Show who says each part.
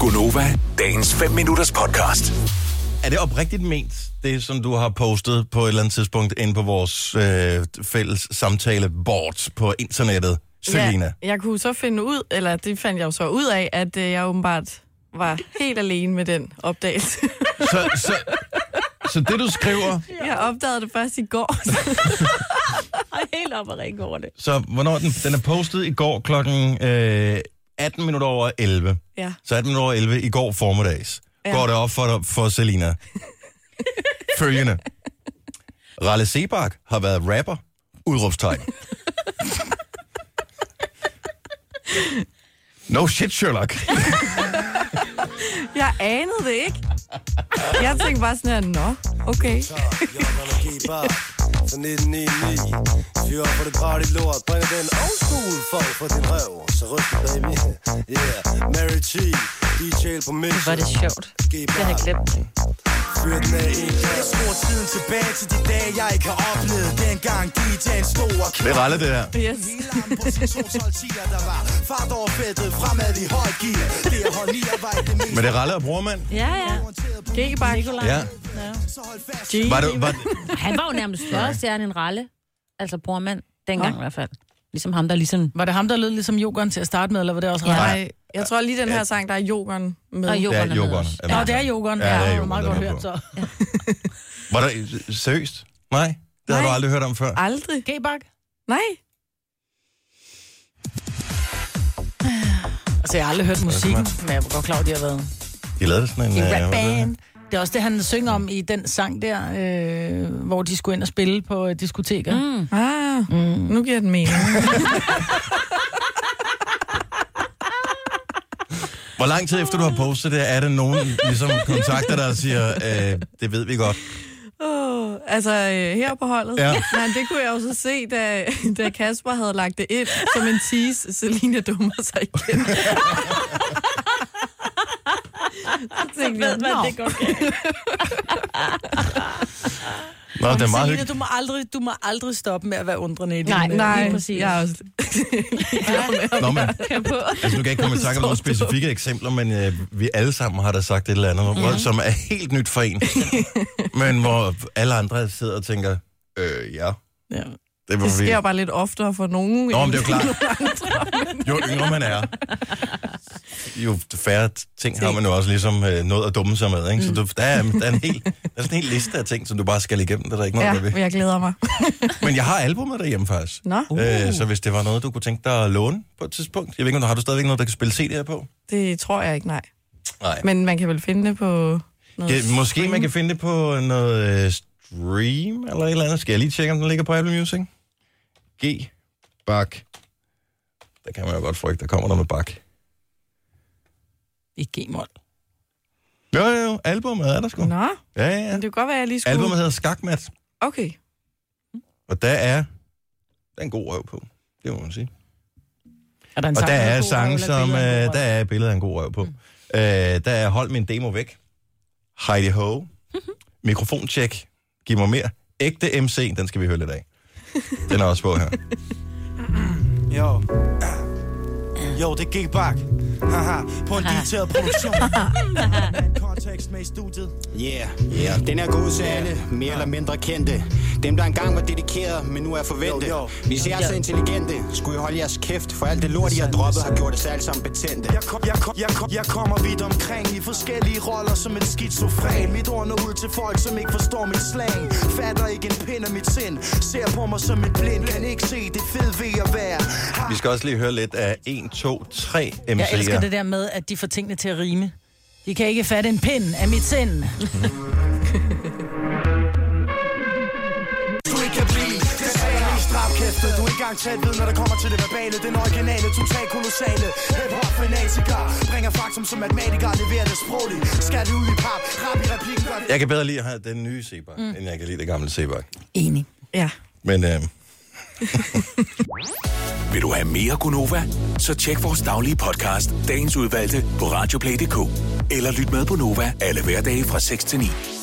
Speaker 1: Gunova, dagens 5 minutters podcast.
Speaker 2: Er det oprigtigt ment, det som du har postet på et eller andet tidspunkt ind på vores øh, fælles samtaleboard på internettet, Selina?
Speaker 3: Ja, jeg kunne så finde ud, eller det fandt jeg jo så ud af, at øh, jeg åbenbart var helt alene med den opdagelse.
Speaker 2: Så, så, så det du skriver,
Speaker 3: jeg opdagede det først i går.
Speaker 4: Jeg er helt oppe og ringe over det.
Speaker 2: så hvornår er den, den er postet i går klokken øh, 18 minutter over 11.
Speaker 3: ja.
Speaker 2: Så 18 minutter over 11 i går formiddags. Ja. Går det op for, dig- for Selina? Følgende. Ralle Sebak har været rapper. Udråbstegn. No shit, Sherlock.
Speaker 3: Jeg anede det ikke. Jeg tænkte bare sådan her, nå, okay.
Speaker 5: Så 1999 Fyr op for det party lort Bringer den old school folk for din røv Så ryst den, baby Yeah Mary G DJ på mission
Speaker 4: Hvor er det sjovt. Det har jeg glemt.
Speaker 5: Fyr den af en
Speaker 6: Jeg skruer tiden tilbage til de dage, jeg ikke har oplevet Dengang DJ'en stod og
Speaker 2: Det er
Speaker 6: knap
Speaker 2: Ralle, det her.
Speaker 3: Yes.
Speaker 6: Hele armen på sin 212 der var Fart over feltet, fremad i høj gear Det er hold 9, jeg var i det mest
Speaker 2: Men det er Ralle og brormand.
Speaker 4: Ja, ja.
Speaker 6: orienterede på
Speaker 3: Gik bare.
Speaker 2: Ja.
Speaker 6: Så hold fast
Speaker 2: Var det, var,
Speaker 4: Han var jo nærmest større stjerne end Ralle. Altså brormand. Dengang i hvert fald. Ligesom ham, der ligesom...
Speaker 7: Var det ham, der lød ligesom Jokeren til at starte med, eller var det også
Speaker 2: Nej.
Speaker 7: Ralle?
Speaker 3: Nej, jeg tror lige den her sang, der er jokeren med.
Speaker 4: Og
Speaker 2: det
Speaker 4: Jokeren
Speaker 2: er
Speaker 4: er med
Speaker 2: Jokeren.
Speaker 4: også.
Speaker 2: er
Speaker 7: Nå,
Speaker 2: med.
Speaker 7: det er Jokeren.
Speaker 2: Ja, det er
Speaker 7: det
Speaker 2: Jokeren,
Speaker 7: meget
Speaker 2: den
Speaker 7: godt
Speaker 2: er
Speaker 7: hørt,
Speaker 2: på.
Speaker 7: så.
Speaker 2: Var der, seriøst? Nej, det har du
Speaker 3: Nej. Ah.
Speaker 2: aldrig hørt om før.
Speaker 3: Aldrig.
Speaker 7: G-Bak.
Speaker 3: Nej.
Speaker 7: Altså, jeg har aldrig hørt musikken, men jeg var godt klar, at de har været
Speaker 2: De lavede sådan en...
Speaker 7: i
Speaker 2: øh,
Speaker 7: rap
Speaker 2: hvad hedder det?
Speaker 7: band. Det er også det, han synger om i den sang der, øh, hvor de skulle ind og spille på øh, diskoteker. Mm.
Speaker 3: Ah, mm. nu giver den mening.
Speaker 2: Hvor lang tid efter du har postet det, er der nogen ligesom, kontakter dig og siger, øh, det ved vi godt.
Speaker 3: Oh, altså, øh, her på holdet.
Speaker 2: Ja.
Speaker 3: Nej, det kunne jeg også se, da, da Kasper havde lagt det ind som en tease. Selina dummer sig igen. Så tænkte jeg, nå,
Speaker 4: godt
Speaker 2: Nå, det er meget hyggeligt.
Speaker 7: du må, aldrig, du må aldrig stoppe med at være undrende i din...
Speaker 4: Nej,
Speaker 7: øh,
Speaker 3: nej,
Speaker 4: lige præcis.
Speaker 3: jeg er også
Speaker 2: Nå, men, altså, nu kan jeg ikke komme i tanke om nogle specifikke eksempler, men øh, vi alle sammen har da sagt et eller andet, mm. som er helt nyt for en. men hvor alle andre sidder og tænker, øh, ja,
Speaker 7: Ja.
Speaker 2: det var
Speaker 3: Det
Speaker 2: vi.
Speaker 3: sker bare lidt oftere for nogen.
Speaker 2: Nå, men det er jo
Speaker 3: end-
Speaker 2: klart. Jo yngre man er, jo færre ting har man jo også ligesom øh, noget at dumme sig med. Ikke? Så du, der, er, der, er en hel, der er sådan en hel liste af ting, som du bare skal igennem. Det er der ikke noget,
Speaker 3: Ja,
Speaker 2: ja, der
Speaker 3: men
Speaker 2: ved.
Speaker 3: jeg glæder mig.
Speaker 2: Men jeg har albumet derhjemme faktisk.
Speaker 3: Nå,
Speaker 2: Øh, så hvis det var noget, du kunne tænke dig at låne på et tidspunkt. Jeg ved ikke, om du har du stadigvæk noget, der kan spille CD'er på?
Speaker 3: det tror jeg ikke, nej.
Speaker 2: Nej.
Speaker 3: Men man kan vel finde det på noget...
Speaker 2: Ja, måske man kan finde det på noget øh, stream eller et eller andet. Skal jeg lige tjekke, om den ligger på Apple Music? G. Bak. Der kan man jo godt frygte, der kommer der med bak.
Speaker 7: I G-mål.
Speaker 2: Jo, jo, jo. Albumet er der sgu.
Speaker 3: Nå,
Speaker 2: Ja, ja,
Speaker 3: men
Speaker 2: ja.
Speaker 3: det kunne godt være, at jeg lige skulle...
Speaker 2: Albumet hedder Skakmat,
Speaker 3: Okay.
Speaker 2: og der er, der er en god røv på. Det må man sige.
Speaker 7: Er der en
Speaker 2: Og
Speaker 7: sang,
Speaker 2: der
Speaker 7: med
Speaker 2: er
Speaker 7: en god røv,
Speaker 2: sange,
Speaker 7: eller
Speaker 2: som...
Speaker 7: et
Speaker 2: Øh,
Speaker 7: billede af
Speaker 2: der er et billede af en
Speaker 7: en god
Speaker 2: god røv på. Mm. Øh, der er Hold min demo væk. Heidi Ho. Mikrofoncheck. Giv mig mere. Ægte MC. Den skal vi høre lidt af. Den er også på her.
Speaker 6: Jo. Jo, det gik bak. Haha, på en digiteret produktion. Kontekst med i studiet.
Speaker 8: Yeah. yeah, den er god til alle, mere eller mindre kendte. Dem, der engang var dedikerede, men nu er forventet.
Speaker 6: Jo, jo.
Speaker 8: Hvis I er så intelligente, skulle I holde jeres kæft, for alt det lort, I har droppet, har gjort os alle sammen betændte.
Speaker 6: Jeg, kom, jeg, kom, jeg, kom, jeg kommer vidt omkring i forskellige roller som et skizofren. Mit ord når ud til folk, som ikke forstår mit slang. Fatter ikke en pind af mit sind. Ser på mig som en blind. Kan ikke se det fede ved at være.
Speaker 2: Vi skal også lige høre lidt af 1, 2, 3 MC'er.
Speaker 7: Jeg elsker det der med, at de får tingene til at rime. De kan ikke fatte en pind af mit sind.
Speaker 6: Du ikke kan blive den svagelige strafkæfte. Du er ikke engang tæt ved, når det kommer til det verbale. Den originale, total kolossale. Hip-hop fanatiker. Bringer faktum som matematiker. Leverer det sprogligt. Skal det ud i pap. Rap i replikken. Gør det
Speaker 2: Jeg kan bedre lide at have den nye Sebak, mm. end jeg kan lide det gamle Sebak.
Speaker 7: Enig.
Speaker 3: Ja.
Speaker 2: Men øh,
Speaker 1: Vil du have mere Gunova? Så tjek vores daglige podcast, dagens udvalgte, på radioplay.dk. Eller lyt med på Nova alle hverdage fra 6 til 9.